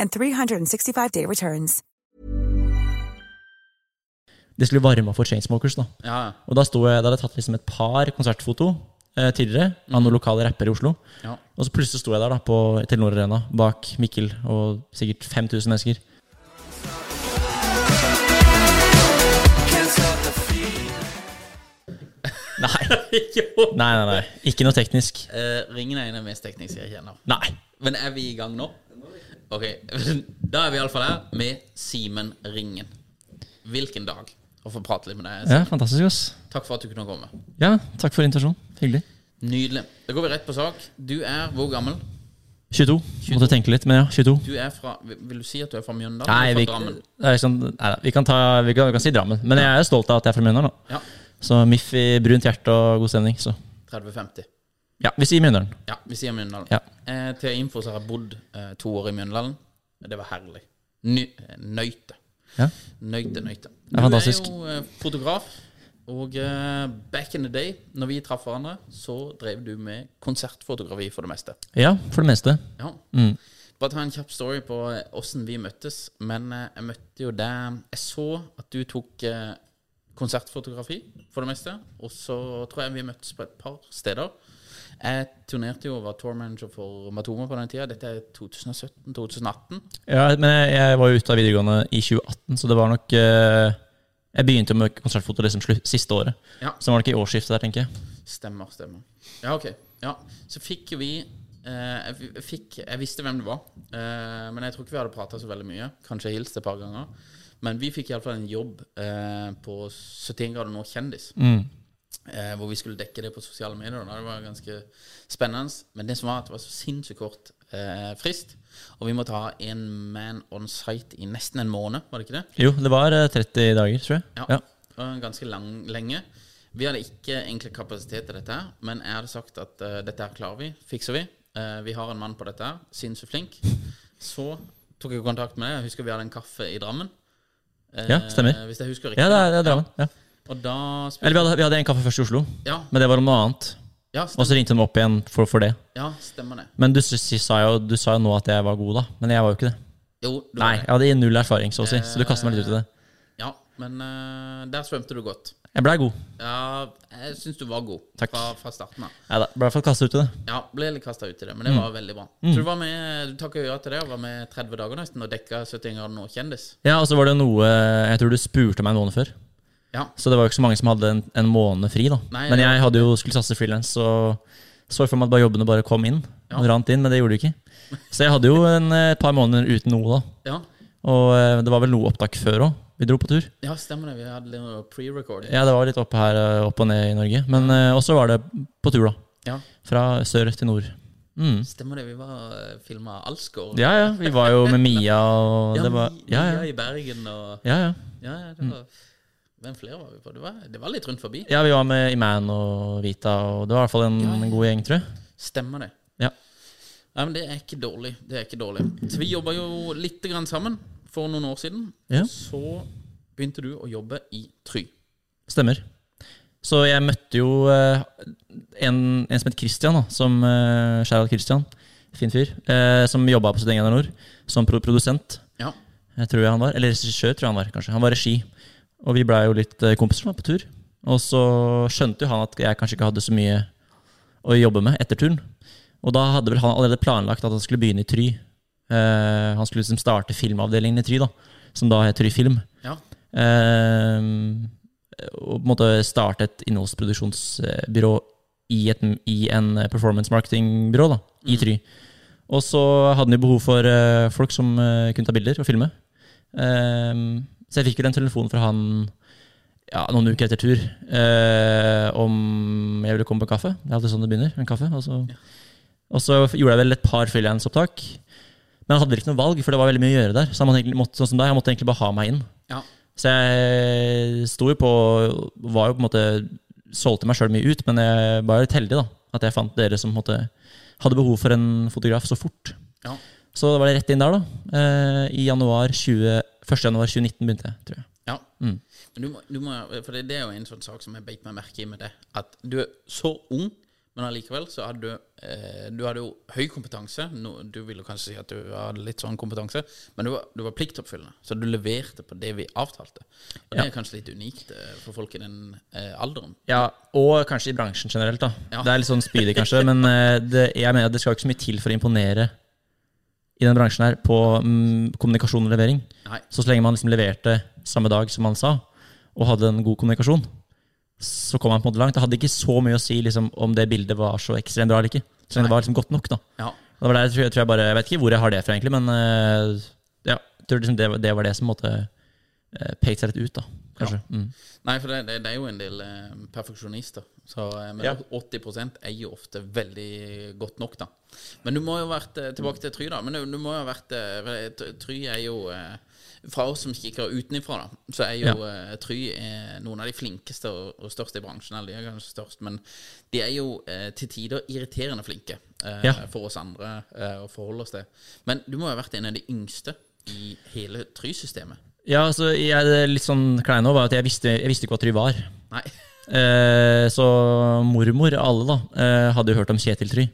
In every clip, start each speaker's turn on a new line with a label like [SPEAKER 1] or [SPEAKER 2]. [SPEAKER 1] and 365-day returns.
[SPEAKER 2] De skulle varme opp for Chainsmokers. da.
[SPEAKER 3] Ja, ja.
[SPEAKER 2] Og da, sto jeg, da hadde jeg tatt liksom et par konsertfoto eh, tidligere av noen lokale rappere i Oslo.
[SPEAKER 3] Mm. Ja.
[SPEAKER 2] Og så plutselig sto jeg der da på Telenor Arena bak Mikkel og sikkert 5000 mennesker. Nei.
[SPEAKER 3] jo.
[SPEAKER 2] Nei, nei, nei. Ikke noe teknisk.
[SPEAKER 3] Eh, ringen er en av de mest tekniske jeg kjenner.
[SPEAKER 2] Nei.
[SPEAKER 3] Men er vi i gang nå? Ok, da er vi iallfall her med Simen Ringen. Hvilken dag å få prate litt med deg.
[SPEAKER 2] Ja, fantastisk, ass.
[SPEAKER 3] Takk for at du kunne komme.
[SPEAKER 2] Ja, takk for invitasjonen. Hyggelig.
[SPEAKER 3] Nydelig. Da går vi rett på sak. Du er hvor gammel?
[SPEAKER 2] 22. Måtte tenke litt, men ja, 22.
[SPEAKER 3] Du er fra Vil du si at du er fra Mjøndalen?
[SPEAKER 2] Nei,
[SPEAKER 3] eller
[SPEAKER 2] vi,
[SPEAKER 3] fra Drammen?
[SPEAKER 2] det er liksom, nei da, vi, kan ta, vi, kan, vi kan si Drammen. Men jeg er jo stolt av at jeg er fra Mjøndalen. da.
[SPEAKER 3] Ja.
[SPEAKER 2] Så Miff i brunt hjerte og god stemning. Så
[SPEAKER 3] 30-50.
[SPEAKER 2] ja, vi sier Mjøndalen.
[SPEAKER 3] Ja, vi sier Mjøndalen.
[SPEAKER 2] Ja.
[SPEAKER 3] Eh, til info så har jeg bodd eh, to år i Mjøndalen. Det var herlig. Ny, eh, nøyte.
[SPEAKER 2] Ja.
[SPEAKER 3] Nøyte, nøyte.
[SPEAKER 2] er fantastisk.
[SPEAKER 3] Du er jo eh, fotograf, og eh, back in the day, når vi traff hverandre, så drev du med konsertfotografi for det meste.
[SPEAKER 2] Ja, for det meste.
[SPEAKER 3] Ja.
[SPEAKER 2] Mm.
[SPEAKER 3] Bare ta en kjapp story på eh, åssen vi møttes. Men eh, jeg møtte jo deg Jeg så at du tok eh, konsertfotografi for det meste. Og så tror jeg vi møttes på et par steder. Jeg turnerte jo og var tourmanager for Matoma på den tida. Dette er 2017-2018.
[SPEAKER 2] Ja, men jeg, jeg var jo ute av videregående i 2018, så det var nok eh, Jeg begynte jo med konsertfoto liksom slu, siste året.
[SPEAKER 3] Ja.
[SPEAKER 2] Så det var nok i årsskiftet der, tenker jeg.
[SPEAKER 3] Stemmer, stemmer. Ja, ok. Ja. Så fikk jo vi eh, jeg f- jeg fikk, Jeg visste hvem det var, eh, men jeg tror ikke vi hadde prata så veldig mye. Kanskje jeg hilste et par ganger. Men vi fikk iallfall en jobb eh, på 71 grader nord kjendis. Eh, hvor vi skulle dekke det på sosiale medier. Da. Det var ganske spennende. Men det som var at det var så sinnssykt kort eh, frist, og vi måtte ha en man on site i nesten en måned, var det ikke det?
[SPEAKER 2] Jo, det var eh, 30 dager, tror jeg.
[SPEAKER 3] Ja. Det var ganske lang, lenge. Vi hadde ikke egentlig kapasitet til dette, her, men jeg hadde sagt at eh, dette her klarer vi, fikser vi. Eh, vi har en mann på dette, her, sinnssykt flink. Så tok jeg kontakt med deg. Jeg husker vi hadde en kaffe i Drammen. Eh,
[SPEAKER 2] Ja, stemmer.
[SPEAKER 3] Hvis jeg husker riktig.
[SPEAKER 2] Ja, det er, det er Drammen. Ja.
[SPEAKER 3] Og da spurte
[SPEAKER 2] Eller vi hadde, vi hadde en kaffe først i Oslo,
[SPEAKER 3] ja,
[SPEAKER 2] men det var om noe annet.
[SPEAKER 3] ja,
[SPEAKER 2] Og
[SPEAKER 3] stemmer,
[SPEAKER 2] så ringte de opp igjen for, for det.
[SPEAKER 3] ja, stemmer det.
[SPEAKER 2] Men du, s- s- sa jo, du sa jo nå at jeg var god, da. Men jeg var jo ikke det.
[SPEAKER 3] Jo,
[SPEAKER 2] Nei,
[SPEAKER 3] det var
[SPEAKER 2] Jeg
[SPEAKER 3] det.
[SPEAKER 2] hadde null erfaring, så å si. Så du kastet meg litt ut i det.
[SPEAKER 3] Ja, men eh, der svømte du godt.
[SPEAKER 2] Jeg blei god.
[SPEAKER 3] Ja, jeg syns du var god
[SPEAKER 2] Takk.
[SPEAKER 3] Fra, fra starten av.
[SPEAKER 2] Nei da. Ble i hvert fall kastet ut i det.
[SPEAKER 3] Ja, ble litt kasta ut i det, men det
[SPEAKER 2] Mm.
[SPEAKER 3] var veldig bra. Så du var med, du takka ja til det og var med 30 dager nesten og dekka 71 grader nord kjendis?
[SPEAKER 2] Ja, og så var det noe Jeg tror du spurte meg en måned før.
[SPEAKER 3] Ja.
[SPEAKER 2] Så det var jo ikke så mange som hadde en, en måned fri, da.
[SPEAKER 3] Nei,
[SPEAKER 2] men
[SPEAKER 3] ja.
[SPEAKER 2] jeg hadde jo skulle satse frilans, så så jeg for meg at bare jobbene bare kom inn.
[SPEAKER 3] Ja.
[SPEAKER 2] Og rant inn, men det gjorde de ikke. Så jeg hadde jo en, eh, et par måneder uten noe, da.
[SPEAKER 3] Ja,
[SPEAKER 2] Og eh, det var vel noe opptak før òg. Vi dro på tur.
[SPEAKER 3] ja stemmer det. Vi hadde litt noe pre-recording.
[SPEAKER 2] Ja, det var litt opp her, eh, opp og ned i Norge. Men eh, også var det på tur, da.
[SPEAKER 3] Ja.
[SPEAKER 2] Fra sør til nord. Mm.
[SPEAKER 3] Stemmer det. Vi var eh, filma Alsgaard.
[SPEAKER 2] Ja, ja. Vi var jo med Mia, og det var Ja, ja.
[SPEAKER 3] i Bergen
[SPEAKER 2] ja,
[SPEAKER 3] og
[SPEAKER 2] Mm. ja.
[SPEAKER 3] Ja, ja, det var Hvem flere var vi på? Det var, det var litt rundt forbi.
[SPEAKER 2] ja vi var med Iman og Vita, og det var i hvert fall en god gjeng, tror jeg.
[SPEAKER 3] Stemmer det.
[SPEAKER 2] Ja.
[SPEAKER 3] Nei, men det er ikke dårlig. Det er ikke dårlig. Så vi jobba jo litt grann sammen. for noen år siden.
[SPEAKER 2] Ja.
[SPEAKER 3] Så begynte du å jobbe i Try.
[SPEAKER 2] Stemmer. Så jeg møtte jo eh, en, en som het Christian, da, som eh, Gerald Christian, fin fyr, eh, som jobba på sitt eget Nord som pro produsent,
[SPEAKER 3] Ja.
[SPEAKER 2] eh, tror jeg han var. Eller regissør, tror jeg han var, kanskje. Han var regi. Og vi blei jo litt eh, kompiser som var på tur. Og så skjønte jo han at jeg kanskje ikke hadde så mye å jobbe med etter turen. Og da hadde vel han allerede planlagt at han skulle begynne i Try. Eh, han skulle liksom starte filmavdelingen i Try, da, som da het Try Film.
[SPEAKER 3] ja.
[SPEAKER 2] Ehm, og på en måte starte et innholdsproduksjonsbyrå i, et, i en performance marketing-byrå, da, i Try. Og så hadde han jo behov for eh, folk som eh, kunne ta bilder og filme. Ehm, så jeg fikk vel en telefon fra han ja, noen uker etter tur eh, om jeg ville komme på kaffe. Det er alltid sånn det begynner, en kaffe. Og så, og så gjorde jeg vel et par frilansopptak. Men jeg hadde vel ikke noe valg, for det var veldig mye å gjøre der. Så han måtte egentlig, måtte, sånn som deg, han måtte egentlig bare ha meg inn.
[SPEAKER 3] ja.
[SPEAKER 2] Så jeg sto jo på Var jo på en måte Solgte meg sjøl mye ut, men jeg var litt heldig, da. At jeg fant dere som på en måte, hadde behov for en fotograf så fort.
[SPEAKER 3] ja.
[SPEAKER 2] Så da var det rett inn der, da. Eh, I januar 20, 1. januar 2019 begynte jeg, tror jeg.
[SPEAKER 3] Ja. Men du må, du må, for det, det er jo en sånn sak som jeg beit meg merke i med det. At du er så ung, men allikevel så hadde du eh, Du hadde jo høy kompetanse. No, du ville kanskje si at du hadde litt sånn kompetanse, men du var, du var pliktoppfyllende. Så du leverte på det vi avtalte. Og det er kanskje litt unikt eh, for folk i den eh, alderen.
[SPEAKER 2] Ja, og kanskje i bransjen generelt, da.
[SPEAKER 3] Ja.
[SPEAKER 2] Det er litt sånn speedy, kanskje, men eh, det, jeg mener at det skal jo ikke så mye til for å imponere i den bransjen her på mm, kommunikasjon og levering.
[SPEAKER 3] Nei.
[SPEAKER 2] Så så lenge man liksom leverte samme dag som han sa, og hadde en god kommunikasjon, så kom han på en måte langt. Det hadde ikke så mye å si liksom, om det bildet var så ekstremt bra eller ikke. Så lenge det var liksom godt nok, da.
[SPEAKER 3] Ja.
[SPEAKER 2] Og Det var der, jeg tror jeg, tror jeg, bare, jeg vet ikke hvor jeg har det fra, egentlig, men eh, ja, jeg tror liksom det, var- det var det som måtte uh, pekte seg litt ut, da. Kanskje. Mm.
[SPEAKER 3] Nei, for det, det, det er jo en del eh, perfeksjonister. Så, eh, men
[SPEAKER 2] Ja.
[SPEAKER 3] 80 er jo ofte veldig godt nok, da. Men du må jo ha vært eh, Tilbake til Try, da. Men du, du må jo ha vært eh, for det- Try er jo eh, Fra oss som kikker utenfra, da, så er jo eh, Try eh, noen av de flinkeste og, og største i bransjen. Eller de er kanskje størst, men de er jo eh, til tider irriterende flinke eh,
[SPEAKER 2] Ja.
[SPEAKER 3] for oss andre eh, å forholde oss til. Men du må jo ha vært en av de yngste i hele Try-systemet.
[SPEAKER 2] Ja, altså, jeg, det litt sånn klein nå var at jeg visste, jeg visste ikke hva Try var.
[SPEAKER 3] Nei.
[SPEAKER 2] Eh, så mormor, alle da, eh, hadde jo hørt om Kjetil Try.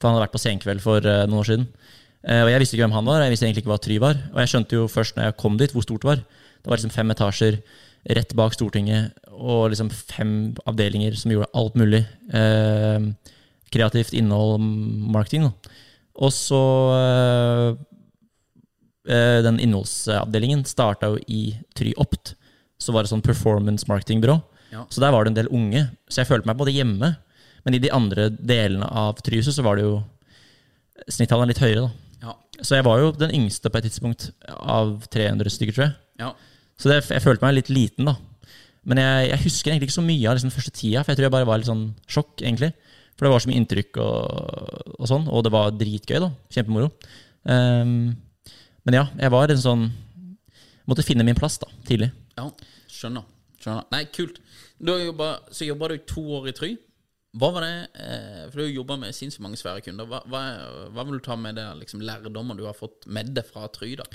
[SPEAKER 2] For han hadde vært på Senkveld for eh, noen år siden. Eh, og jeg visste ikke hvem han var, og jeg visste egentlig ikke hva Try var. Og jeg skjønte jo først når jeg kom dit, hvor stort det var. Det var liksom fem etasjer rett bak Stortinget, og liksom fem avdelinger som gjorde alt mulig. Eh, kreativt innhold, marketing. Da. Og så eh, eh, den innholdsavdelingen starta jo i Try Opt. Så var det sånn performance marketing-byrå.
[SPEAKER 3] Ja.
[SPEAKER 2] Så der var det en del unge. Så jeg følte meg på en måte hjemme. Men i de andre delene av Tryhuset så var det jo snittallet litt høyere, da.
[SPEAKER 3] Ja.
[SPEAKER 2] Så jeg var jo den yngste på et tidspunkt av 300 stykker, tror jeg.
[SPEAKER 3] ja.
[SPEAKER 2] Så det, jeg følte meg litt liten, da. Men jeg, jeg husker egentlig ikke så mye av liksom, første tida, for jeg tror jeg bare var litt sånn sjokk, egentlig. For det var så mye inntrykk og, og sånn, og det var dritgøy, da. Kjempemoro. Ehm, men ja, jeg var en sånn Måtte finne min plass, da, tidlig.
[SPEAKER 3] Ja, skjønner. skjønner. Nei, kult. Du har jobbet, så jobba du i to år i Try. Hva var det eh, For du har jobba med sinnssykt mange svære kunder. Hva, hva, hva vil du ta med deg av liksom, lærdommer du har fått med deg fra Try? da?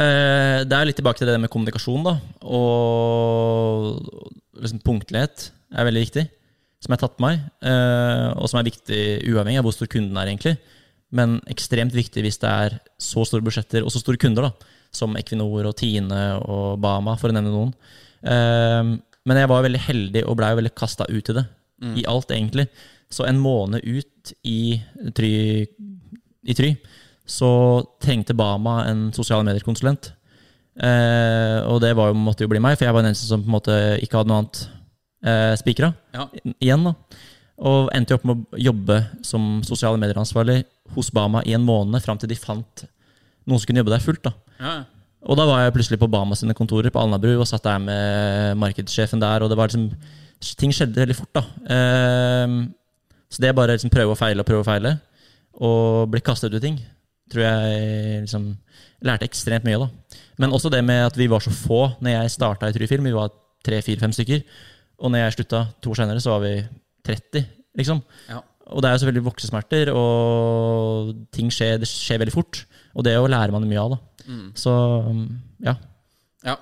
[SPEAKER 2] Eh, Det er jo litt tilbake til det med kommunikasjon, da. Og liksom punktlighet er veldig viktig. Som jeg har tatt på meg, eh, og som er viktig uavhengig av hvor stor kunden er, egentlig. Men ekstremt viktig hvis det er så store budsjetter og så store kunder, da. Som Equinor og Tine og Bama, for å nevne noen. Eh, Men jeg var veldig heldig og blei veldig kasta ut i det. I alt, egentlig. Så en måned ut i Try i Try, så trengte Bama en sosiale medier-konsulent. Eh, og det var jo, måtte jo bli meg, for jeg var den eneste som på en måte ikke hadde noe annet eh, spikra.
[SPEAKER 3] Ja.
[SPEAKER 2] Igjen, da. Og endte jo opp med å jobbe som sosiale medier-ansvarlig hos Bama i en måned, fram til de fant noen som kunne jobbe der fullt. da.
[SPEAKER 3] Ja,
[SPEAKER 2] Og da var jeg plutselig på Bama sine kontorer på Alnabru og satt der med markedssjefen der, og det var liksom Ting skjedde veldig fort, da. Ehm, så det er bare liksom prøve og feile og prøve og feile, og bli kastet ut i ting, tror jeg liksom lærte ekstremt mye, da. Men også det med at vi var så få når jeg starta i Tryfilm, vi var tre, fire, fem stykker. Og når jeg slutta to år senere, så var vi 30, liksom.
[SPEAKER 3] ja.
[SPEAKER 2] Og det er jo selvfølgelig voksesmerter, og ting skjer, det skjer veldig fort. Og det jo lærer man mye av, da. Så um, ja.
[SPEAKER 3] Ja,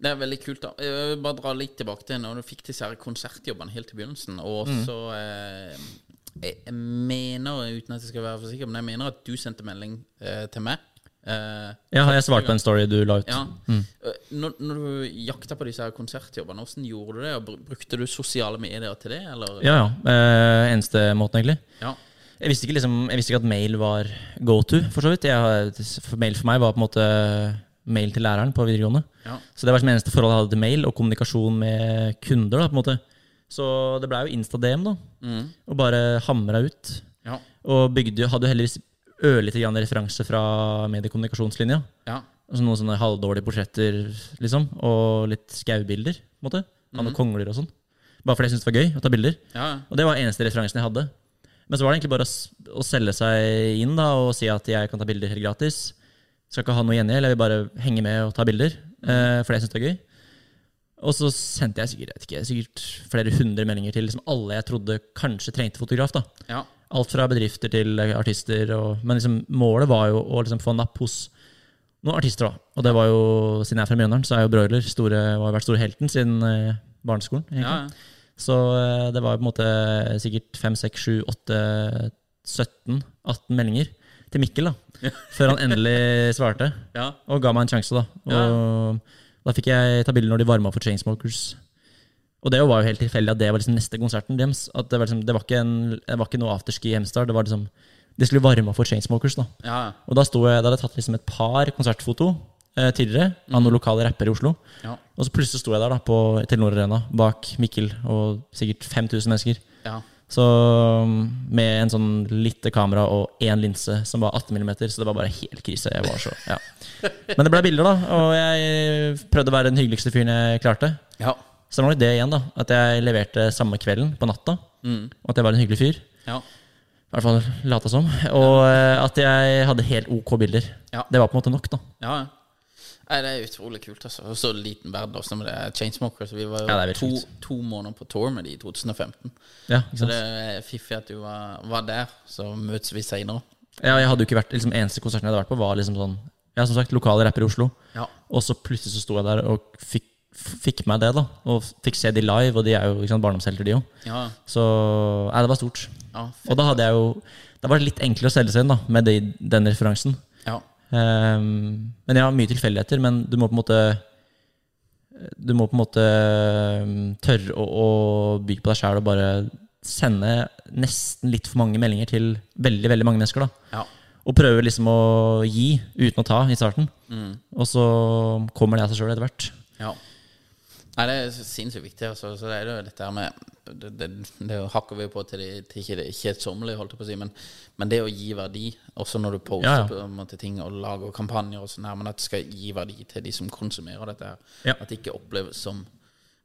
[SPEAKER 3] det er veldig kult. da Jeg vil bare dra litt tilbake til når du fikk disse her konsertjobbene helt i begynnelsen. Og så eh, jeg, jeg mener, uten at jeg skal være for sikker, men jeg mener at du sendte melding eh, til meg. Eh,
[SPEAKER 2] Ja, jeg svarte på en story du la ut.
[SPEAKER 3] ja. Eh, Når, når du jakta på disse her konsertjobbene, hvordan gjorde du det? Og br- Brukte du sosiale medier til det, eller?
[SPEAKER 2] Ja, ja. Eh, eneste måten, egentlig.
[SPEAKER 3] Ja.
[SPEAKER 2] Jeg visste, ikke, liksom, jeg visste ikke at mail var go to, for så vidt. Jeg, har- mail for meg var på en måte mail til læreren på videregående.
[SPEAKER 3] Ja.
[SPEAKER 2] Så det var som eneste forhold jeg hadde til mail, og kommunikasjon med kunder. da, på en måte. Så det blei jo Insta-DM, da. Og bare hamra ut.
[SPEAKER 3] Ja.
[SPEAKER 2] Og bygde, jo- hadde jo heldigvis ørlite grann referanse fra mediekommunikasjonslinja.
[SPEAKER 3] ja.
[SPEAKER 2] Altså noen sånne halvdårlige portretter, liksom. Og litt skaubilder, på en måte. Av noen kongler og sånn. Bare fordi jeg syntes det var gøy å ta bilder.
[SPEAKER 3] ja.
[SPEAKER 2] Og det var eneste referansen jeg hadde. Men så var det egentlig bare å, s- å selge seg inn da, og si at jeg kan ta bilder helt gratis. Skal ikke ha noe gjengjeld, jeg vil bare henge med og ta bilder. Eh, for det syns jeg er gøy. Og så sendte jeg sikkert, jeg vet ikke, sikkert flere hundre meldinger til liksom alle jeg trodde kanskje trengte fotograf. da.
[SPEAKER 3] ja.
[SPEAKER 2] Alt fra bedrifter til eh, artister. Og, men liksom, målet var jo å liksom få napp hos noen artister. da. Og det var jo, siden jeg er fra Mjøndalen, så er jo Broiler store, og har vært store helten siden eh, barneskolen. egentlig.
[SPEAKER 3] ja.
[SPEAKER 2] Så eh, det var på en måte sikkert 5, 6, 7, 8, 17, 18 meldinger til Mikkel da, før han endelig svarte.
[SPEAKER 3] Ja.
[SPEAKER 2] Og ga meg en sjanse, da. Og da fikk jeg ta bilder når de varma for Chainsmokers. Og det var jo helt tilfeldig at det var liksom neste konserten deres. At det, var liksom, det, var ikke en, det var ikke noe afterski i Hemsedal. Det var liksom, de skulle varme opp for Chainsmokers. da.
[SPEAKER 3] ja.
[SPEAKER 2] Og da, sto jeg, da hadde jeg tatt liksom et par konsertfoto eh, tidligere av noen lokale rappere i Oslo.
[SPEAKER 3] Ja.
[SPEAKER 2] Og så plutselig sto jeg der da på Telenor Arena bak Mikkel og sikkert 5000 mennesker.
[SPEAKER 3] ja.
[SPEAKER 2] Så mm, med en sånn lite kamera og én linse som var 18 mm, så det var bare helt krise. Jeg var så, ja. Men det ble bilder, da, og jeg prøvde å være den hyggeligste fyren jeg klarte.
[SPEAKER 3] ja.
[SPEAKER 2] Så det var nok det igjen, da. At jeg leverte samme kvelden, på natta.
[SPEAKER 3] Mm.
[SPEAKER 2] Og at jeg var en hyggelig fyr.
[SPEAKER 3] ja.
[SPEAKER 2] I hvert fall lata som. Og eh, at jeg hadde helt ok bilder.
[SPEAKER 3] Ja.
[SPEAKER 2] Det var på en måte nok, da.
[SPEAKER 3] Ja, ja. Nei, det er utrolig kult. altså Og Så liten verden også med det Chainsmokers. Vi var jo
[SPEAKER 2] Ja, det er
[SPEAKER 3] to,
[SPEAKER 2] virkelig
[SPEAKER 3] to måneder på tour med de i 2015.
[SPEAKER 2] Ja, ikke
[SPEAKER 3] Så
[SPEAKER 2] sant?
[SPEAKER 3] det er fiffig at du var, var der. Så møtes vi seinere.
[SPEAKER 2] ja, jeg hadde jo ikke vært liksom, Eneste konserten jeg hadde vært på, var liksom sånn Ja, som sagt, lokale rappere i Oslo.
[SPEAKER 3] Ja.
[SPEAKER 2] Og så plutselig så sto jeg der og fikk, fikk meg det, da. Og fikk se de live, og de er jo ikke sant, barndomshelter, de òg.
[SPEAKER 3] Ja,
[SPEAKER 2] Så Nei, det var stort.
[SPEAKER 3] ja,
[SPEAKER 2] Og da hadde jeg jo Da var det litt enklere å selge seg inn, da, med de, den referansen.
[SPEAKER 3] ja.
[SPEAKER 2] Ehm, men jeg har mye tilfeldigheter, men du må på en måte Du må på en måte ehm, tørre å, å by på deg sjæl og bare sende nesten litt for mange meldinger til veldig veldig mange mennesker. da
[SPEAKER 3] ja.
[SPEAKER 2] Og prøve liksom å gi uten å ta i starten. Og så kommer det av seg sjøl etter hvert.
[SPEAKER 3] ja. Nei, det er så sinnssykt viktig. Altså. Så det er jo dette her med Det, det, det hakker vi jo på til, de, til ikke det kjedsommelige, holdt jeg på å si, men, men det å gi verdi, også når du poster
[SPEAKER 2] Ja, ja.
[SPEAKER 3] på en måte ting og lager kampanjer og sånn her, men at det skal gi verdi til de som konsumerer dette her.
[SPEAKER 2] Ja.
[SPEAKER 3] At det ikke oppleves som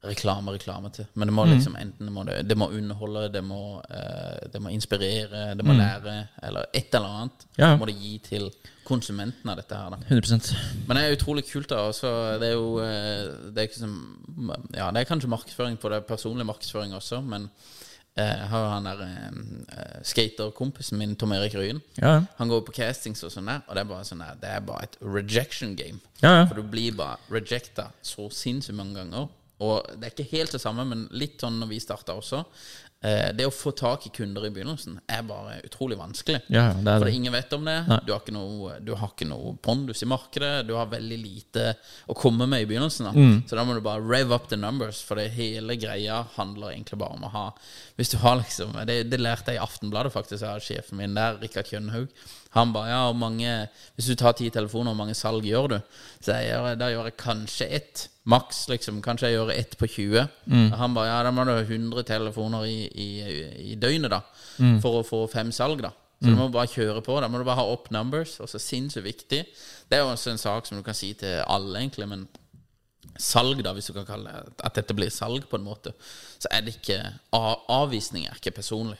[SPEAKER 3] reklame, reklame til. Men det må liksom
[SPEAKER 2] Mm.
[SPEAKER 3] enten det må, det det må underholde, det må, eh, det må inspirere, det må lære, eller et eller annet
[SPEAKER 2] Mm. Ja, ja.
[SPEAKER 3] må det gi til konsumenten av dette her. da.
[SPEAKER 2] 100
[SPEAKER 3] Men det er utrolig kult, da. Også, det er jo eh, det er ikke som, Ja, det er kanskje markedsføring på det, personlig markedsføring også, men eh, jeg har jo han der eh, skaterkompisen min, Tom Erik Ryen.
[SPEAKER 2] Ja, ja.
[SPEAKER 3] Han går på castings og sånn der, og det er bare sånn der Det er bare et rejection game.
[SPEAKER 2] Ja, ja.
[SPEAKER 3] For du blir bare rejecta så sinnssykt mange ganger. Og det er ikke helt det samme, men litt sånn når vi starta også. Eh, det å få tak i kunder i begynnelsen er bare utrolig vanskelig.
[SPEAKER 2] Ja, ja, det er
[SPEAKER 3] For
[SPEAKER 2] det.
[SPEAKER 3] ingen vet om det.
[SPEAKER 2] Nei.
[SPEAKER 3] Du har, ikke noe, du har ikke noe pondus i markedet. Du har veldig lite å komme med i begynnelsen. Da.
[SPEAKER 2] Mm.
[SPEAKER 3] Så da må du bare rev up the numbers, for det hele greia handler egentlig bare om å ha Hvis du har liksom Det, det lærte jeg i Aftenbladet, faktisk, av sjefen min der, Rikard Kjønhaug. Han bare ja, hvor mange Hvis du tar ti telefoner, hvor mange salg gjør du? Så jeg gjør, da gjør jeg kanskje ett. Maks, liksom. Kanskje jeg gjør ett på 20.
[SPEAKER 2] Mm.
[SPEAKER 3] Og Han bare ja, da må du ha 100 telefoner i, i, i døgnet, da.
[SPEAKER 2] Mm.
[SPEAKER 3] For å få fem salg, da. Så du må bare kjøre på. Da må du bare ha up numbers. Og så sinnssykt viktig. Det er jo også en sak som du kan si til alle, egentlig, men salg, da, hvis du kan kalle det at dette blir salg, på en måte, så er det ikke a- Avvisning er ikke personlig.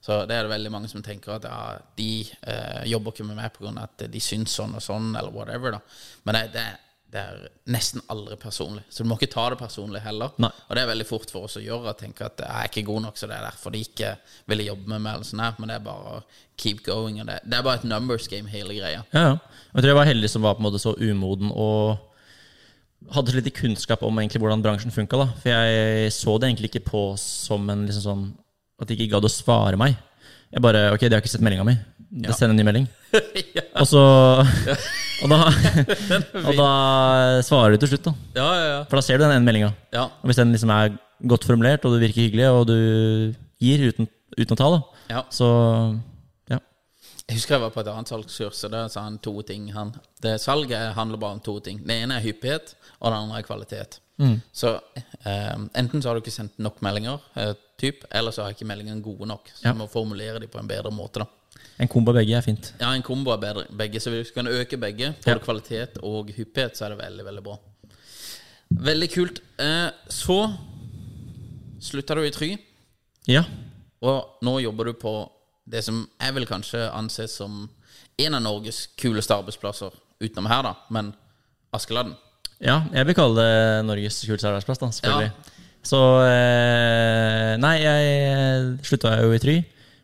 [SPEAKER 3] Så det er det veldig mange som tenker at ja, de eh, jobber ikke med meg pga. at de syns sånn og sånn, eller whatever, da. Men det, det er det er nesten aldri personlig. Så du må ikke ta det personlig heller.
[SPEAKER 2] Nei.
[SPEAKER 3] Og det er veldig fort for oss å gjøre. Å tenke at jeg er ikke god nok, så det er derfor de ikke ville jobbe med meg. Eller sånn her. Men det er bare å keep going. Og det, det er bare et numbers game, hele greia.
[SPEAKER 2] Ja, ja. Jeg tror jeg var heldig som var på en måte så umoden og hadde så lite kunnskap om egentlig hvordan bransjen funka. da. For jeg så det egentlig ikke på som en liksom sånn At de ikke gadd å svare meg. Jeg bare Ok, de har ikke sett meldinga mi. Da sender jeg en ny melding. Og så og da, og da svarer du til slutt, da.
[SPEAKER 3] Ja, ja, ja.
[SPEAKER 2] For da ser du den ene meldinga.
[SPEAKER 3] ja.
[SPEAKER 2] Og hvis den liksom er godt formulert, og du virker hyggelig, og du gir uten, uten å ta, da,
[SPEAKER 3] Ja.
[SPEAKER 2] så ja.
[SPEAKER 3] Jeg husker jeg var på et annet salgskurs, og da sa han to ting. Han. Det, salget handler bare om to ting. Det ene er hyppighet, og det andre er kvalitet. Så eh, enten så har du ikke sendt nok meldinger, eh, typ, eller så har ikke meldingene gode nok. Så
[SPEAKER 2] Ja.
[SPEAKER 3] du må formulere de på en bedre måte. da.
[SPEAKER 2] En kombo av begge er fint.
[SPEAKER 3] Ja, en kombo er bedre enn begge, så hvis du kan øke begge, både kvalitet og hyppighet, så er det veldig, veldig bra. Veldig kult. Eh, så slutta du i Try,
[SPEAKER 2] Ja.
[SPEAKER 3] og nå jobber du på det som jeg vil kanskje anse som en av Norges kuleste arbeidsplasser, utenom her, da, men Askeladden.
[SPEAKER 2] Ja, jeg vil kalle det Norges kuleste arbeidsplass, da, selvfølgelig.
[SPEAKER 3] Ja.
[SPEAKER 2] Så eh, Nei, jeg slutta jo i Try.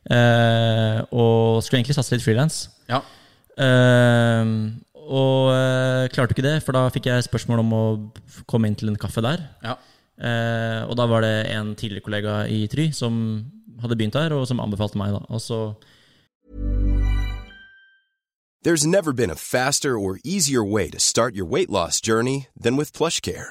[SPEAKER 2] Eh, og skulle egentlig satse litt frilans.
[SPEAKER 3] Ja.
[SPEAKER 2] Eh, og eh, klarte ikke det, for da fikk jeg spørsmål om å komme inn til en kaffe der.
[SPEAKER 3] ja.
[SPEAKER 2] Eh, og da var det en tidligere kollega i Try som hadde begynt der, og som anbefalte meg. da Og så
[SPEAKER 4] There's never been a faster or easier way to start your weight loss journey than with PlushCare.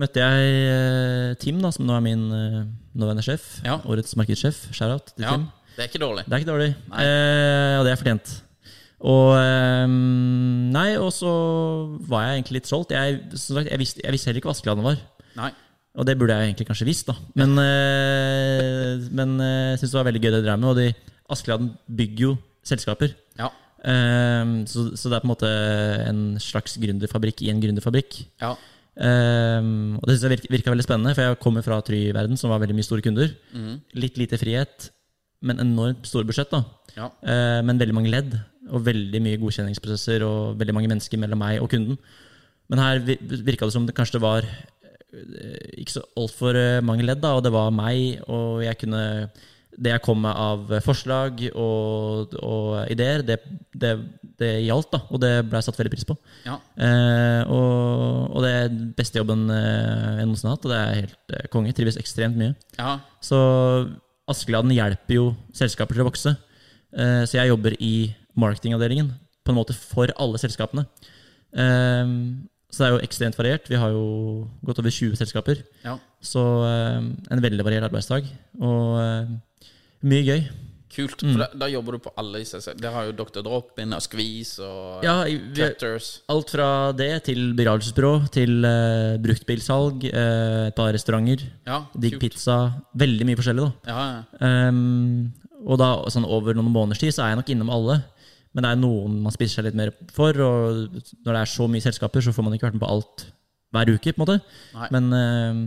[SPEAKER 2] møtte jeg eh, Tim, da, som nå er min eh, nåværende sjef.
[SPEAKER 3] Ja.
[SPEAKER 2] Årets markedssjef. Shout-out til
[SPEAKER 3] ja.
[SPEAKER 2] Tim.
[SPEAKER 3] Det er ikke dårlig.
[SPEAKER 2] Det er ikke dårlig. Eh, og det er fortjent. Og eh, Nei, og så var jeg egentlig litt solgt. Jeg, som sagt, jeg, visste, jeg visste heller ikke hva Askeladden var.
[SPEAKER 3] Nei.
[SPEAKER 2] Og det burde jeg egentlig kanskje visst, da. Men, eh, men eh, jeg syns det var veldig gøy det jeg drev med. Og de, Askeladden bygger jo selskaper.
[SPEAKER 3] Ja.
[SPEAKER 2] Eh, så, så det er på en måte en slags gründerfabrikk i en gründerfabrikk.
[SPEAKER 3] Ja.
[SPEAKER 2] Ehm, og det synes jeg virka, virka veldig spennende, for jeg kommer fra Try-verden, som var veldig mye store kunder. Litt lite frihet, men enormt store budsjett. da.
[SPEAKER 3] Ja.
[SPEAKER 2] Eh, men veldig mange ledd, og veldig mye godkjenningsprosesser og veldig mange mennesker mellom meg og kunden. Men her vi- virka det som det kanskje var eh, ikke så altfor eh, mange ledd, da, og det var meg, og jeg kunne det jeg kom med av eh, forslag og, og ideer, det, det, det gjaldt, da, og det ble jeg satt veldig pris på.
[SPEAKER 3] ja.
[SPEAKER 2] Eh, og, og det er den beste jobben eh, jeg noensinne har hatt, og det er helt eh, konge. Trives ekstremt mye.
[SPEAKER 3] ja.
[SPEAKER 2] Så Askeladden hjelper jo selskaper til å vokse. Eh, så jeg jobber i marketingavdelingen på en måte for alle selskapene. Eh, så det er jo ekstremt variert. Vi har jo godt over 20 selskaper.
[SPEAKER 3] ja.
[SPEAKER 2] Så eh, en veldig variert arbeidsdag. Og eh, mye gøy.
[SPEAKER 3] Kult.
[SPEAKER 2] Mm.
[SPEAKER 3] For da, da jobber du på alle disse. Der har jo Dr. Drop-in og Skvis og
[SPEAKER 2] Ja, vi,
[SPEAKER 3] Cutters.
[SPEAKER 2] Alt fra det til begravelsesbyrå, til eh, bruktbilsalg, eh, et par restauranter,
[SPEAKER 3] Ja,
[SPEAKER 2] digg
[SPEAKER 3] kult.
[SPEAKER 2] pizza. Veldig mye forskjellig, da.
[SPEAKER 3] Ja, ja.
[SPEAKER 2] Ehm, og da sånn over noen måneders tid så er jeg nok innom alle. Men det er noen man spiser seg litt mer for, og når det er så mye selskaper, så får man ikke vært med på alt hver uke, på en måte.
[SPEAKER 3] Nei.
[SPEAKER 2] Men ehm,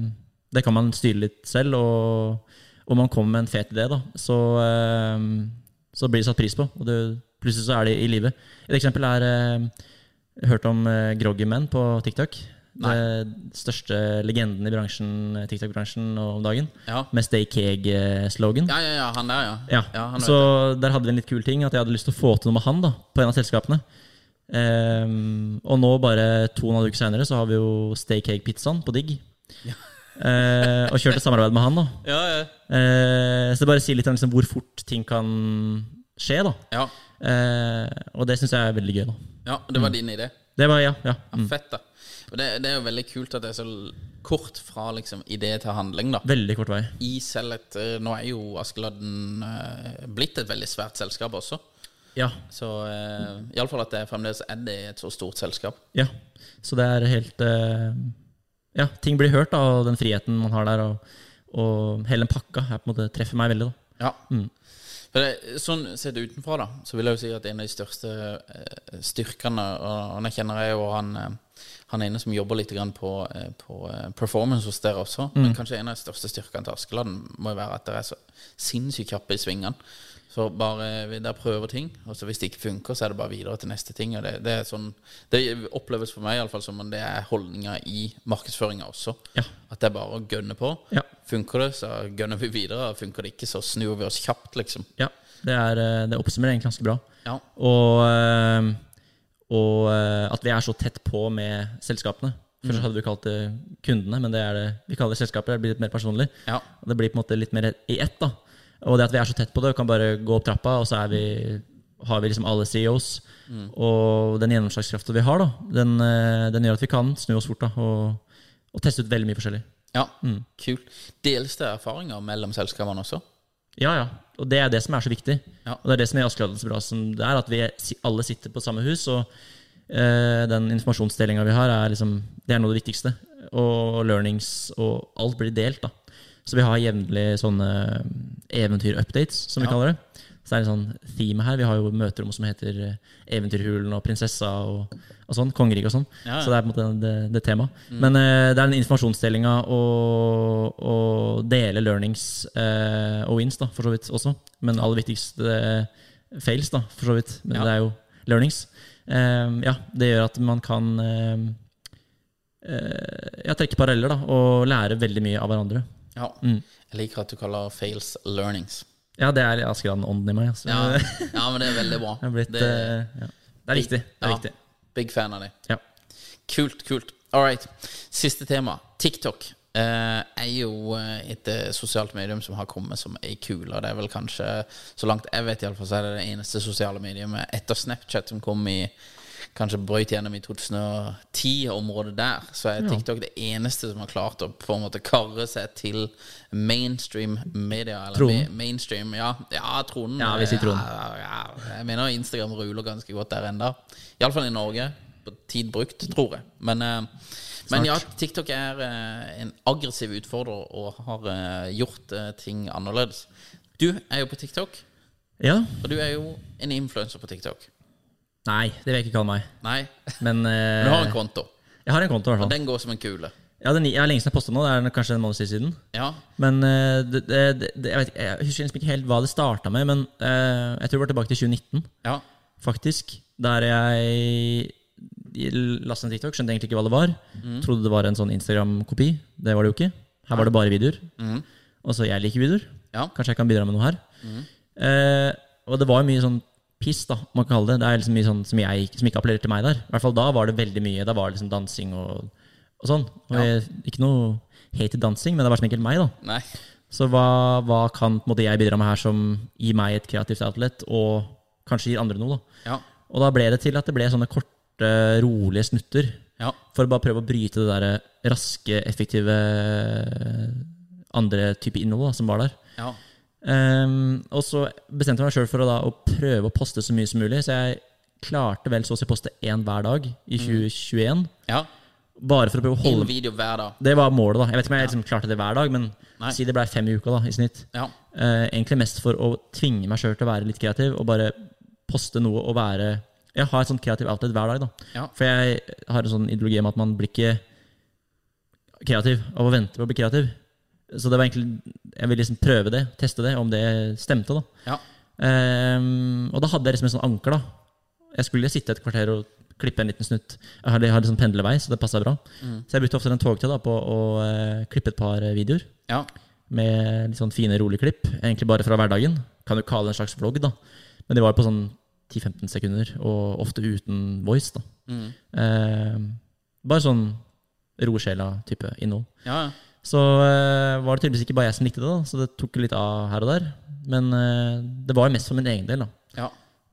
[SPEAKER 2] det kan man styre litt selv, og om man kommer med en fet idé, da, så, ehm, så blir det satt pris på. Og det, plutselig så er de i live. Et eksempel er ehm, jeg har Hørt om eh, Groggy Men på TikTok. Det største legenden i bransjen, eh, TikTok-bransjen om dagen.
[SPEAKER 3] Ja.
[SPEAKER 2] Med Stay Keg-slogan.
[SPEAKER 3] Ja, ja, ja, han der, ja.
[SPEAKER 2] Ja,
[SPEAKER 3] han
[SPEAKER 2] så
[SPEAKER 3] vet
[SPEAKER 2] der hadde vi en litt kul ting, at jeg hadde lyst til å få til noe med han da, på en av selskapene. Ehm, og nå, bare to og en halv uke senere, så har vi jo Stay Cake Pizzaen på Digg. Eh, og kjørte samarbeid med han, da.
[SPEAKER 3] Ja, ja.
[SPEAKER 2] Eh, så det bare sier litt om liksom, hvor fort ting kan skje, da.
[SPEAKER 3] ja.
[SPEAKER 2] Eh, og det syns jeg er veldig gøy, da.
[SPEAKER 3] ja det
[SPEAKER 2] Mm.
[SPEAKER 3] var din idé.
[SPEAKER 2] Det var, ja, ja.
[SPEAKER 3] Ja, fett, da. Og det, det er jo veldig kult at det er så l- kort fra liksom, idé til handling, da.
[SPEAKER 2] Veldig kort vei.
[SPEAKER 3] I selv et eh, Nå er jo Askeladden eh, blitt et veldig svært selskap også.
[SPEAKER 2] Ja.
[SPEAKER 3] Så eh, iallfall at det fremdeles er det et så stort selskap.
[SPEAKER 2] ja. Så det er helt eh, Ja, ting blir hørt, da, og den friheten man har der, og, og hele den pakka er på en måte treffer meg veldig, da.
[SPEAKER 3] Ja. For det, sånn sett utenfra, da, så vil jeg jo si at en av de største eh, styrkene Og og jeg kjenner jeg jo han eh, Han ene som jobber litt grann på, eh, på eh, performance hos dere også. Men kanskje en av de største styrkene til Askeladden må jo være at dere er så sinnssykt kjappe i svingene. Så bare eh, vi der prøver ting, og så hvis det ikke funker, så er det bare videre til neste ting. Og det, det, er sånn, det oppleves for meg i alle fall som om det er holdninga i markedsføringa også.
[SPEAKER 2] Ja.
[SPEAKER 3] At det er bare å gønne på.
[SPEAKER 2] Ja.
[SPEAKER 3] Funker det, så gønner vi videre. Funker det ikke, så snur vi oss kjapt, liksom.
[SPEAKER 2] Ja, det, er, eh, det oppsummerer egentlig ganske bra.
[SPEAKER 3] Ja.
[SPEAKER 2] Og, eh, og eh, at vi er så tett på med selskapene. Først hadde vi kalt det kundene, men det er det, vi kaller det selskaper. Det blir litt mer personlig.
[SPEAKER 3] Ja.
[SPEAKER 2] Og det blir på en måte litt mer i ett. da. Og det at vi er så tett på det, kan bare gå opp trappa, og så er vi, har vi liksom alle CEOs. Og den gjennomslagskraften vi har, da, den, eh, den gjør at vi kan snu oss fort da, og, og teste ut veldig mye forskjellig.
[SPEAKER 3] ja.
[SPEAKER 2] Mm.
[SPEAKER 3] Kult. Deles det erfaringer mellom selskapene også?
[SPEAKER 2] Ja, ja. Og det er det som er så viktig.
[SPEAKER 3] Ja.
[SPEAKER 2] Og det er det som gjør Askeladden så bra som det er, at vi si- alle sitter på samme hus, og eh, den informasjonsdelinga vi har, er liksom Det er noe av det viktigste. Og learnings og alt blir delt, da. Så vi har jevnlig sånne eh, eventyr-updates, som vi
[SPEAKER 3] Ja.
[SPEAKER 2] kaller det. Så det er en sånn theme her. Vi har jo møterom som heter eh, Eventyrhulen og Prinsessa og, og sånn. Kongeriket og sånn.
[SPEAKER 3] Ja, ja.
[SPEAKER 2] Så det er på en måte det, det temaet. Men eh, det er den informasjonsdelinga og, og dele learnings eh, og wins, da, for så vidt også. Men aller viktigst eh, fails, da, for så vidt. Men
[SPEAKER 3] Ja.
[SPEAKER 2] det er jo learnings. Eh, ja, det gjør at man kan eh, eh, ja, trekke paralleller da, og lære veldig mye av hverandre.
[SPEAKER 3] Ja. Jeg liker at du kaller fails learnings.
[SPEAKER 2] Mm. Ja, det er Askeland-ånden i meg. Altså.
[SPEAKER 3] Ja. ja, men det er veldig bra.
[SPEAKER 2] Jeg har blitt,
[SPEAKER 3] det,
[SPEAKER 2] eh, ja. det er riktig. Det er
[SPEAKER 3] Ja.
[SPEAKER 2] riktig.
[SPEAKER 3] Big fan av det.
[SPEAKER 2] Ja.
[SPEAKER 3] Kult, kult. All right. Siste tema. TikTok eh, er jo eh, et eh, sosialt medium som har kommet som ei kule. og Det er vel kanskje, så langt jeg vet, i alle fall, så er det det eneste sosiale mediumet etter Snapchat som kom i Kanskje brøyt gjennom i 2010-området der. Så er TikTok det eneste som har klart å på en måte karre seg til mainstream media. Eller
[SPEAKER 2] Tronen.
[SPEAKER 3] ma- Mainstream, ja. ja, tronen.
[SPEAKER 2] Ja, vi sier tronen.
[SPEAKER 3] Ja, ja, ja. Jeg mener Instagram ruler ganske godt der ennå. Iallfall i Norge. På tid brukt, tror jeg. Men, eh, men ja, TikTok er eh, en aggressiv utfordrer og har eh, gjort eh, ting annerledes. Du er jo på TikTok,
[SPEAKER 2] ja.
[SPEAKER 3] og du er jo en influenser på TikTok.
[SPEAKER 2] Nei, det vil jeg ikke kalle meg.
[SPEAKER 3] Nei,
[SPEAKER 2] Men eh,
[SPEAKER 3] men du har en konto.
[SPEAKER 2] jeg har en konto, i hvert fall.
[SPEAKER 3] Og den går som en kule.
[SPEAKER 2] Ja, den, jeg har lenge siden jeg postet nå. Det er nok kanskje en måned siden.
[SPEAKER 3] Ja,
[SPEAKER 2] Men eh, det, det, det, jeg, vet, ikke- jeg husker liksom ikke helt hva det starta med, men eh, jeg tror det var tilbake til 2019,
[SPEAKER 3] ja,
[SPEAKER 2] faktisk. Der jeg lastet en TikTok, skjønte egentlig ikke hva det var. Trodde det var en sånn Instagram-kopi. Det var det jo ikke. Her var det bare videoer. Og så jeg liker videoer.
[SPEAKER 3] ja.
[SPEAKER 2] Kanskje jeg kan bidra med noe her. Eh, og det var jo mye sånn piss, da, om man kan kalle det. Det er liksom mye sånn som, jeg, som ikke appellerer til meg der. I hvert fall da var det veldig mye. Da var det liksom dansing og, og sånn. Og jeg, ikke noe hate til dansing, men det var liksom ikke helt meg, da.
[SPEAKER 3] Nei.
[SPEAKER 2] Så hva, hva kan på en måte, jeg bidra med her som gir meg et kreativt outlet, og kanskje gir andre noe, da.
[SPEAKER 3] Ja,
[SPEAKER 2] Og da ble det til at det ble sånne korte, rolige snutter.
[SPEAKER 3] ja,
[SPEAKER 2] For å bare prøve å bryte det der eh, raske, effektive eh, andre type innhold da, som var der.
[SPEAKER 3] ja.
[SPEAKER 2] Ehm, og så bestemte jeg meg sjøl for å, da, å prøve å poste så mye som mulig. Så jeg klarte vel så å si poste én hver dag i 2021.
[SPEAKER 3] ja.
[SPEAKER 2] Bare for å prøve å
[SPEAKER 3] En
[SPEAKER 2] holde
[SPEAKER 3] video hver dag.
[SPEAKER 2] Det var målet, da. Jeg vet ikke om jeg liksom klarte det hver dag, men
[SPEAKER 3] Nei.
[SPEAKER 2] si det blei fem i uka da, i snitt.
[SPEAKER 3] Ja,
[SPEAKER 2] Eh, egentlig mest for å tvinge meg sjøl til å være litt kreativ og bare poste noe og være Jeg har et sånt kreativ outlet hver dag, da.
[SPEAKER 3] Ja.
[SPEAKER 2] For jeg har en sånn ideologi om at man blir ikke kreativ av å vente på å bli kreativ. Så det var egentlig Jeg ville liksom prøve det, teste det, om det stemte, da.
[SPEAKER 3] ja,
[SPEAKER 2] Ehm, og da hadde jeg liksom en sånn anker, da. Jeg skulle sitte et kvarter og klippe en liten snutt. Jeg hadde, jeg hadde sånn pendlervei, så det passa bra. Så jeg brukte ofte den togtida da, på å eh, klippe et par eh, videoer
[SPEAKER 3] ja.
[SPEAKER 2] med litt sånn fine, rolige klipp. Egentlig bare fra hverdagen. Kan jo kalle det en slags vlogg, da. Men de var på sånn 10-15
[SPEAKER 3] Mm.
[SPEAKER 2] sekunder, og ofte uten voice, da. Ehm, bare sånn roe sjela-type innhold.
[SPEAKER 3] Ja, ja.
[SPEAKER 2] Så eh, var det tydeligvis ikke bare jeg som likte det, da, så det tok jo litt av her og der. Men eh, det var jo mest for min egen del, da.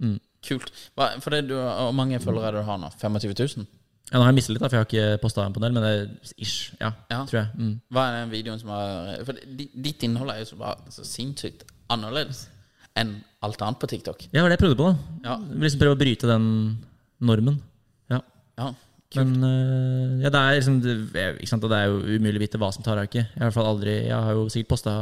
[SPEAKER 3] ja. Kult. Hva, for det du, hvor mange følgere er det du har nå? 25 000?
[SPEAKER 2] Ja, nå har jeg mistet litt, da, for jeg har ikke posta en på en del, men det er ish. Ja,
[SPEAKER 3] Ja.
[SPEAKER 2] tror jeg. Mm.
[SPEAKER 3] Hva er den videoen som har For di- ditt innhold er jo så, bare, så sinnssykt annerledes enn alt annet på TikTok.
[SPEAKER 2] Ja, det var det jeg prøvde på, da.
[SPEAKER 3] Ja.
[SPEAKER 2] Liksom prøve å bryte den normen. Ja.
[SPEAKER 3] Ja.
[SPEAKER 2] Men eh, ja, det er liksom det, jeg- ikke sant? og det er jo umulig å vite hva som tar av ikke. Jeg har, i hvert fall aldri, jeg har jo sikkert posta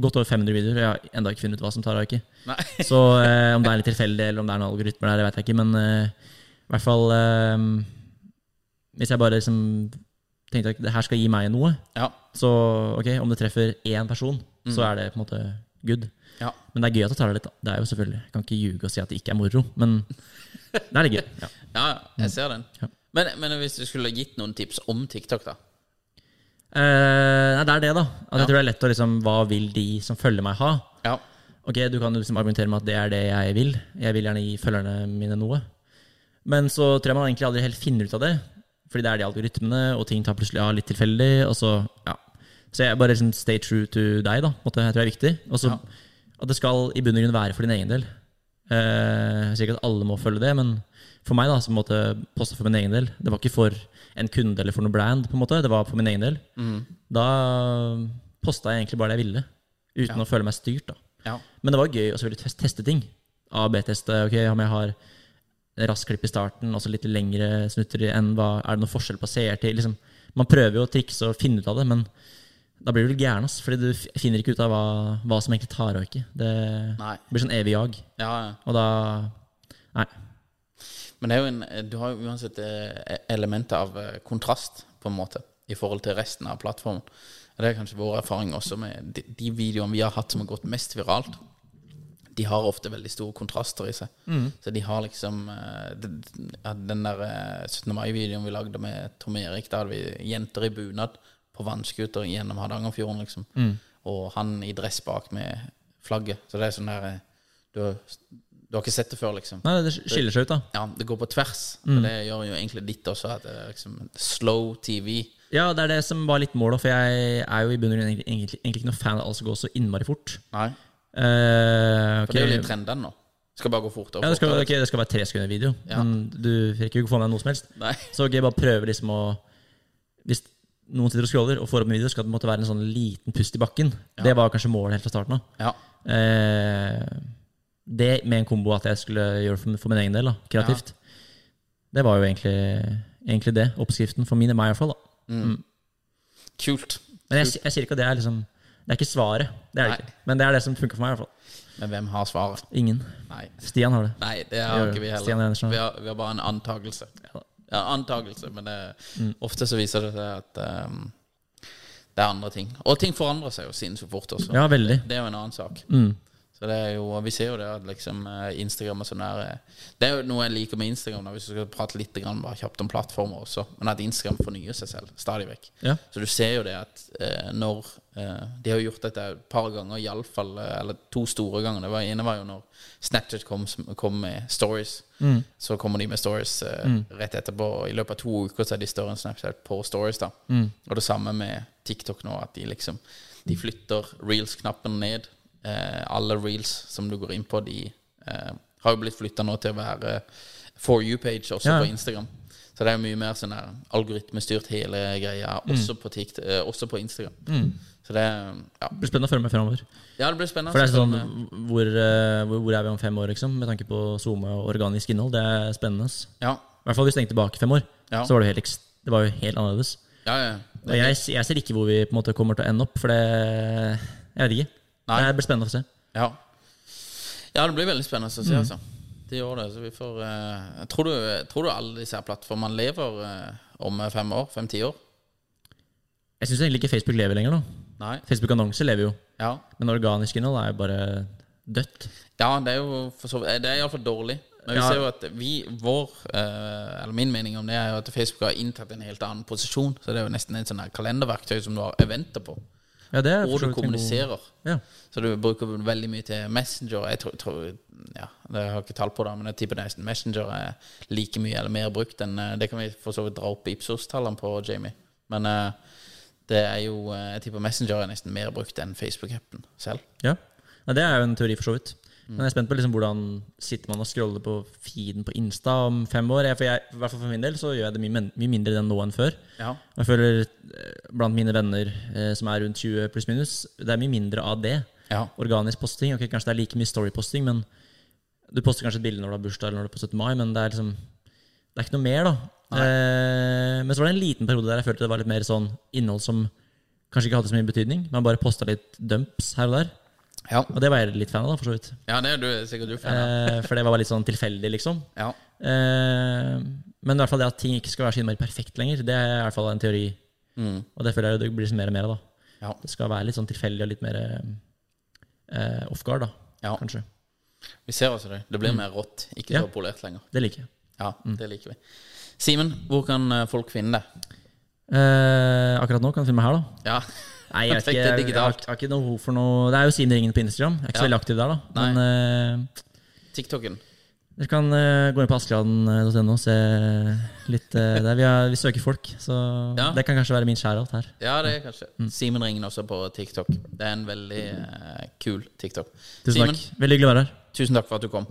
[SPEAKER 2] godt over 500 videoer, og jeg har ennå ikke funnet ut hva som tar av ikke.
[SPEAKER 3] Nei.
[SPEAKER 2] Så eh, om det er litt tilfeldig, eller om det er noen algoritmer der, det vet jeg ikke. Men eh, i hvert fall eh, Hvis jeg bare liksom tenkte at det her skal gi meg noe,
[SPEAKER 3] Ja.
[SPEAKER 2] så ok, om det treffer én person, så er det på en måte good.
[SPEAKER 3] ja.
[SPEAKER 2] Men det er gøy at det tar deg litt da. Det er jo selvfølgelig Jeg kan ikke ljuge og si at det ikke er moro, men det er litt gøy. Ja.
[SPEAKER 3] Ja, jeg ser den.
[SPEAKER 2] Ja.
[SPEAKER 3] Men, men hvis du skulle gitt noen tips om TikTok, da?
[SPEAKER 2] Eh, nei, det er det, da. At
[SPEAKER 3] Ja.
[SPEAKER 2] Jeg tror det er lett å liksom Hva vil de som følger meg, ha?
[SPEAKER 3] Ja.
[SPEAKER 2] Ok, du kan liksom argumentere med at det er det jeg vil. Jeg vil gjerne gi følgerne mine noe. Men så tror jeg man egentlig aldri helt finner ut av det. Fordi det er de algoritmene, og ting tar plutselig av litt tilfeldig. Og så, ja. så jeg bare liksom stay true to deg, da. på en måte, Jeg tror det er viktig. Og så
[SPEAKER 3] Ja.
[SPEAKER 2] at det skal i bunn og grunn være for din egen del. Eh, jeg sier ikke at alle må følge det, men for meg da, så måtte jeg poste for min egen del. Det var ikke for en kunde eller for noe brand, på en måte. Det var for min egen del. Da posta jeg egentlig bare det jeg ville. Uten å føle meg styrt, da.
[SPEAKER 3] Ja.
[SPEAKER 2] Men det var gøy å selvfølgelig test- teste ting. A-B-teste. ok, Om jeg har rask klipp i starten, og så litt lengre snutter enn hva Er det noen forskjell på seertid? Liksom, man prøver jo å trikse og finne ut av det, men da blir du gæren, ass. Fordi du f- finner ikke ut av hva, hva som egentlig tar av ikke. Det
[SPEAKER 3] Nei.
[SPEAKER 2] blir sånn evig jag.
[SPEAKER 3] ja.
[SPEAKER 2] Og da Nei.
[SPEAKER 3] Men det er jo en, du har jo uansett eh, elementer av eh, kontrast, på en måte, i forhold til resten av plattformen. Og Det er kanskje vår erfaring også med de, de videoene vi har hatt som har gått mest viralt. De har ofte veldig store kontraster i seg. Så de har liksom eh, d- d- ja, Den der eh, 17. mai-videoen vi lagde med Tom Erik, da hadde vi jenter i bunad på vannskuter gjennom Hardangerfjorden, liksom. Og han i dress bak med flagget. Så det er sånn der eh, Du, har- du har ikke sett det før, liksom.
[SPEAKER 2] Nei, det skiller seg ut, da.
[SPEAKER 3] Ja, det går på tvers.
[SPEAKER 2] Mm.
[SPEAKER 3] Og det gjør jo egentlig ditt også, at det er liksom slow TV.
[SPEAKER 2] Ja, det er det som var litt målet, for jeg er jo i bunn og grunn egentlig, egentlig, egentlig ikke noen fan av alt som går så innmari fort.
[SPEAKER 3] Nei.
[SPEAKER 2] Eh,
[SPEAKER 3] For det er jo
[SPEAKER 2] ok.
[SPEAKER 3] litt trendene nå. Skal bare gå fortere. og
[SPEAKER 2] Ja, det skal,
[SPEAKER 3] fortere.
[SPEAKER 2] ok, det skal være tre sekunder video,
[SPEAKER 3] Ja.
[SPEAKER 2] men du rekker jo ikke å få med deg noe som helst.
[SPEAKER 3] Nei.
[SPEAKER 2] Så ok, bare prøve liksom å Hvis noen sitter og scroller og får opp en video, skal det måtte være en sånn liten pust i bakken. Det var kanskje målet helt fra starten av.
[SPEAKER 3] Ja.
[SPEAKER 2] Eh, det med en kombo at jeg skulle gjøre for, for min egen del, da, kreativt. Det var jo egentlig, egentlig det. Oppskriften for min, meg i hvert fall. da.
[SPEAKER 3] Kult.
[SPEAKER 2] Men jeg, jeg sier ikke at det er liksom Det er ikke svaret. Det er det
[SPEAKER 3] Nei.
[SPEAKER 2] ikke. Men det er det som funker for meg, i hvert fall.
[SPEAKER 3] Men hvem har svaret?
[SPEAKER 2] Ingen.
[SPEAKER 3] Nei.
[SPEAKER 2] Stian har det.
[SPEAKER 3] Nei, det
[SPEAKER 2] Jo,
[SPEAKER 3] har
[SPEAKER 2] jo.
[SPEAKER 3] ikke vi
[SPEAKER 2] Stian
[SPEAKER 3] heller.
[SPEAKER 2] Andersen har-
[SPEAKER 3] Vi har, vi har bare en antakelse. Ja, antakelse, men det,
[SPEAKER 2] Mm.
[SPEAKER 3] ofte så viser det seg at ehm, det er andre ting. Og ting forandrer seg jo sinnssykt fort også.
[SPEAKER 2] Ja, veldig.
[SPEAKER 3] Det er jo en annen sak. Så det er jo, Vi ser jo det at liksom eh, Instagram og sånn der eh, Det er jo noe jeg liker med Instagram, da, hvis du skal prate litt grann, bare kjapt om plattformer også, men at Instagram fornyer seg selv stadig vekk.
[SPEAKER 2] Ja.
[SPEAKER 3] Så du ser jo det at eh, når eh, De har jo gjort dette et par ganger, iallfall eh, Eller to store ganger. Det var, ene var jo når Snapchat kom, som- kom med stories. Så kommer de med stories eh, rett etterpå. og I løpet av to uker så er de større enn Snapchat på stories. da Og det samme med TikTok nå, at de liksom De flytter reels-knappen ned. Eh, alle reels som du går inn på, de eh, har jo blitt flytta nå til å være eh, for you-page også
[SPEAKER 2] Ja.
[SPEAKER 3] på Instagram. Så det er jo mye mer sånn der algoritmestyrt hele greia,
[SPEAKER 2] Mm.
[SPEAKER 3] også, på Tikt, eh, også på Instagram. Så det ja.
[SPEAKER 2] Det blir spennende å følge med framover.
[SPEAKER 3] ja, det blir spennende.
[SPEAKER 2] For det er sånn,
[SPEAKER 3] Men,
[SPEAKER 2] hvor, eh, hvor, hvor er vi om fem år, liksom? Med tanke på SoMe og organisk innhold. Det er spennende. ass.
[SPEAKER 3] eh, ja.
[SPEAKER 2] I hvert fall hvis du tenker tilbake fem år,
[SPEAKER 3] Ja.
[SPEAKER 2] så var det, jo helt, ekst- det var jo helt annerledes.
[SPEAKER 3] Ja, ja.
[SPEAKER 2] Og jeg, jeg ser ikke hvor vi på en måte kommer til å ende opp, for det Jeg vet ikke.
[SPEAKER 3] Nei.
[SPEAKER 2] Det blir spennende å se.
[SPEAKER 3] ja. ja, det blir veldig spennende å se,
[SPEAKER 2] Mm.
[SPEAKER 3] altså. Det gjør det. Så vi får eh, tror, du, tror du alle disse her plattformene lever eh, om fem år? Fem-ti år?
[SPEAKER 2] Jeg syns egentlig ikke Facebook lever lenger nå.
[SPEAKER 3] Nei?
[SPEAKER 2] Facebook-annonser lever jo,
[SPEAKER 3] Ja.
[SPEAKER 2] men organisk innhold er jo bare dødt.
[SPEAKER 3] Ja, det er jo for så vidt eh, Det er iallfall dårlig. Men vi
[SPEAKER 2] Ja.
[SPEAKER 3] ser jo at vi, vår eh, Eller min mening om det er jo at Facebook har inntatt en helt annen posisjon. Så det er jo nesten et sånn her kalenderverktøy som du har eventer på.
[SPEAKER 2] Ja, det er for
[SPEAKER 3] og
[SPEAKER 2] så vidt
[SPEAKER 3] du
[SPEAKER 2] en god-
[SPEAKER 3] kommuniserer.
[SPEAKER 2] Ja.
[SPEAKER 3] Så du bruker veldig mye til Messenger. Jeg tror, tror ja, det har jeg ikke tall på det, men jeg tipper nesten Messenger er like mye eller mer brukt enn eh, Det kan vi for så vidt dra opp i Ipsos-tallene på, Jamie. Men eh, det er jo eh, Jeg tipper Messenger er nesten mer brukt enn Facebook-appen selv.
[SPEAKER 2] Ja. Nei, det er jo en teori, for så vidt. Men jeg er spent på liksom hvordan sitter man og scroller på feeden på Insta om fem år. Jeg, for jeg, i hvert fall for min del så gjør jeg det mye, men- mye mindre enn nå enn før.
[SPEAKER 3] Ja.
[SPEAKER 2] Jeg føler eh, blant mine venner eh, som er rundt 20 pluss minus, det er mye mindre av det.
[SPEAKER 3] Ja.
[SPEAKER 2] Organisk posting. Ok, kanskje det er like mye storyposting, men du poster kanskje et bilde når du har bursdag eller når du er på 17. mai, men det er liksom Det er ikke noe mer, da. Eh, men så var det en liten periode der jeg følte det var litt mer sånn innhold som kanskje ikke hadde så mye betydning. Man bare posta litt dumps her og der.
[SPEAKER 3] Ja,
[SPEAKER 2] Og det var jeg litt fan av, da, for så vidt.
[SPEAKER 3] ja det er du, sikkert du fan av.
[SPEAKER 2] Eh, for det var bare litt sånn tilfeldig, liksom.
[SPEAKER 3] Ja.
[SPEAKER 2] Eh, men i hvert fall det at ting ikke skal være så innmari perfekt lenger, det er i hvert fall en teori.
[SPEAKER 3] Mm.
[SPEAKER 2] Og det føler jeg det blir liksom mer og mer av, da.
[SPEAKER 3] Ja.
[SPEAKER 2] Det skal være litt sånn tilfeldig og litt mer eh, off guard, da.
[SPEAKER 3] Ja.
[SPEAKER 2] Kanskje. Mm.
[SPEAKER 3] Vi ser altså det. Det blir mer rått. Ikke
[SPEAKER 2] Ja. Mm.
[SPEAKER 3] så polert lenger.
[SPEAKER 2] Det liker jeg.
[SPEAKER 3] Ja, det liker vi. Simen, hvor kan eh, folk finne deg?
[SPEAKER 2] Eh, akkurat nå kan du filme her, da.
[SPEAKER 3] Ja.
[SPEAKER 2] Nei, jeg, er ikke,
[SPEAKER 3] Perfekt, det er
[SPEAKER 2] jeg, jeg, har,
[SPEAKER 3] digitalt.
[SPEAKER 2] jeg har ikke noe behov for noe Det er jo Simen Ringen på Instagram. Jeg er ikke så
[SPEAKER 3] Ja.
[SPEAKER 2] veldig aktiv der, da. Men eh,
[SPEAKER 3] TikToken.
[SPEAKER 2] dere kan eh, gå inn på askeladden.no og se litt eh, der. Vi, er, vi søker folk, så
[SPEAKER 3] Ja.
[SPEAKER 2] det kan kanskje være min skjærout her.
[SPEAKER 3] Ja, det er kanskje.
[SPEAKER 2] Mm.
[SPEAKER 3] Simen Ringen også på TikTok. Det er en veldig eh, kul TikTok.
[SPEAKER 2] Tusen
[SPEAKER 3] Simen,
[SPEAKER 2] takk. Veldig hyggelig å være her.
[SPEAKER 3] tusen takk for at du kom.